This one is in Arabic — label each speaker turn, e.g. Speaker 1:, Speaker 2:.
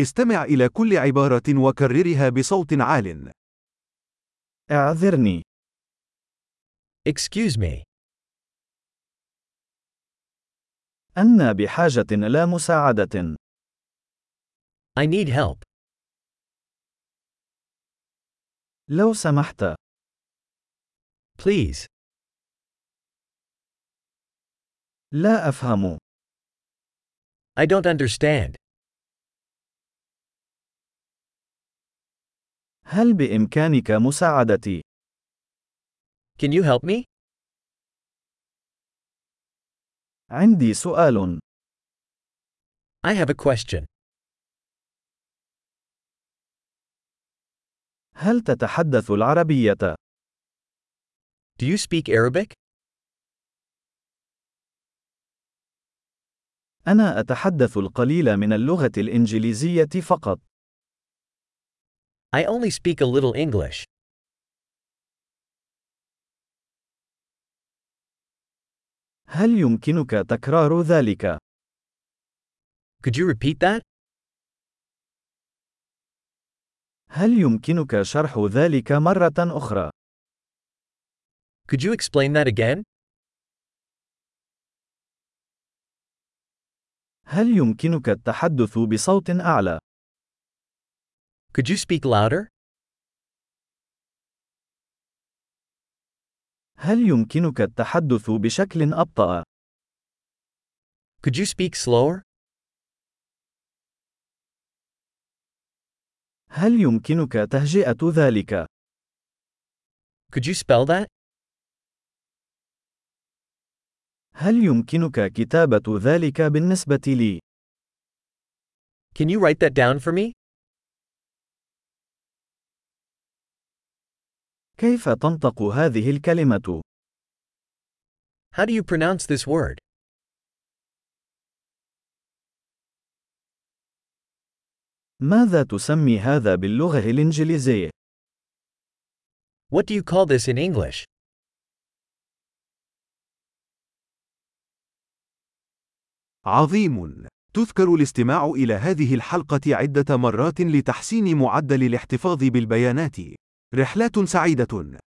Speaker 1: استمع إلى كل عبارة وكررها بصوت عال.
Speaker 2: اعذرني.
Speaker 3: Excuse me.
Speaker 2: أنا بحاجة إلى مساعدة.
Speaker 3: I need help.
Speaker 2: لو سمحت،
Speaker 3: Please.
Speaker 2: لا أفهم.
Speaker 3: I don't understand.
Speaker 2: هل بإمكانك مساعدتي؟
Speaker 3: Can you help me?
Speaker 2: عندي سؤال.
Speaker 3: I have a question.
Speaker 2: هل تتحدث العربية؟
Speaker 3: Do you speak Arabic?
Speaker 2: أنا أتحدث القليل من اللغة الإنجليزية فقط.
Speaker 3: I only speak a little English.
Speaker 2: هل يمكنك تكرار ذلك؟
Speaker 3: Could you repeat that?
Speaker 2: هل يمكنك شرح ذلك مرة أخرى؟
Speaker 3: Could you explain that again?
Speaker 2: هل يمكنك التحدث بصوت أعلى؟
Speaker 3: Could you speak louder?
Speaker 2: هل يمكنك التحدث بشكل أبطأ؟
Speaker 3: Could you speak slower?
Speaker 2: هل يمكنك تهجئة ذلك؟
Speaker 3: Could you spell that?
Speaker 2: هل يمكنك كتابة ذلك بالنسبة لي؟
Speaker 3: Can you write that down for me?
Speaker 2: كيف تنطق هذه الكلمة؟
Speaker 3: How do you pronounce this word?
Speaker 2: ماذا تسمي هذا باللغة الإنجليزية؟
Speaker 3: What do you call this in English?
Speaker 1: عظيم. تذكر الاستماع إلى هذه الحلقة عدة مرات لتحسين معدل الاحتفاظ بالبيانات. رحلات سعيدة.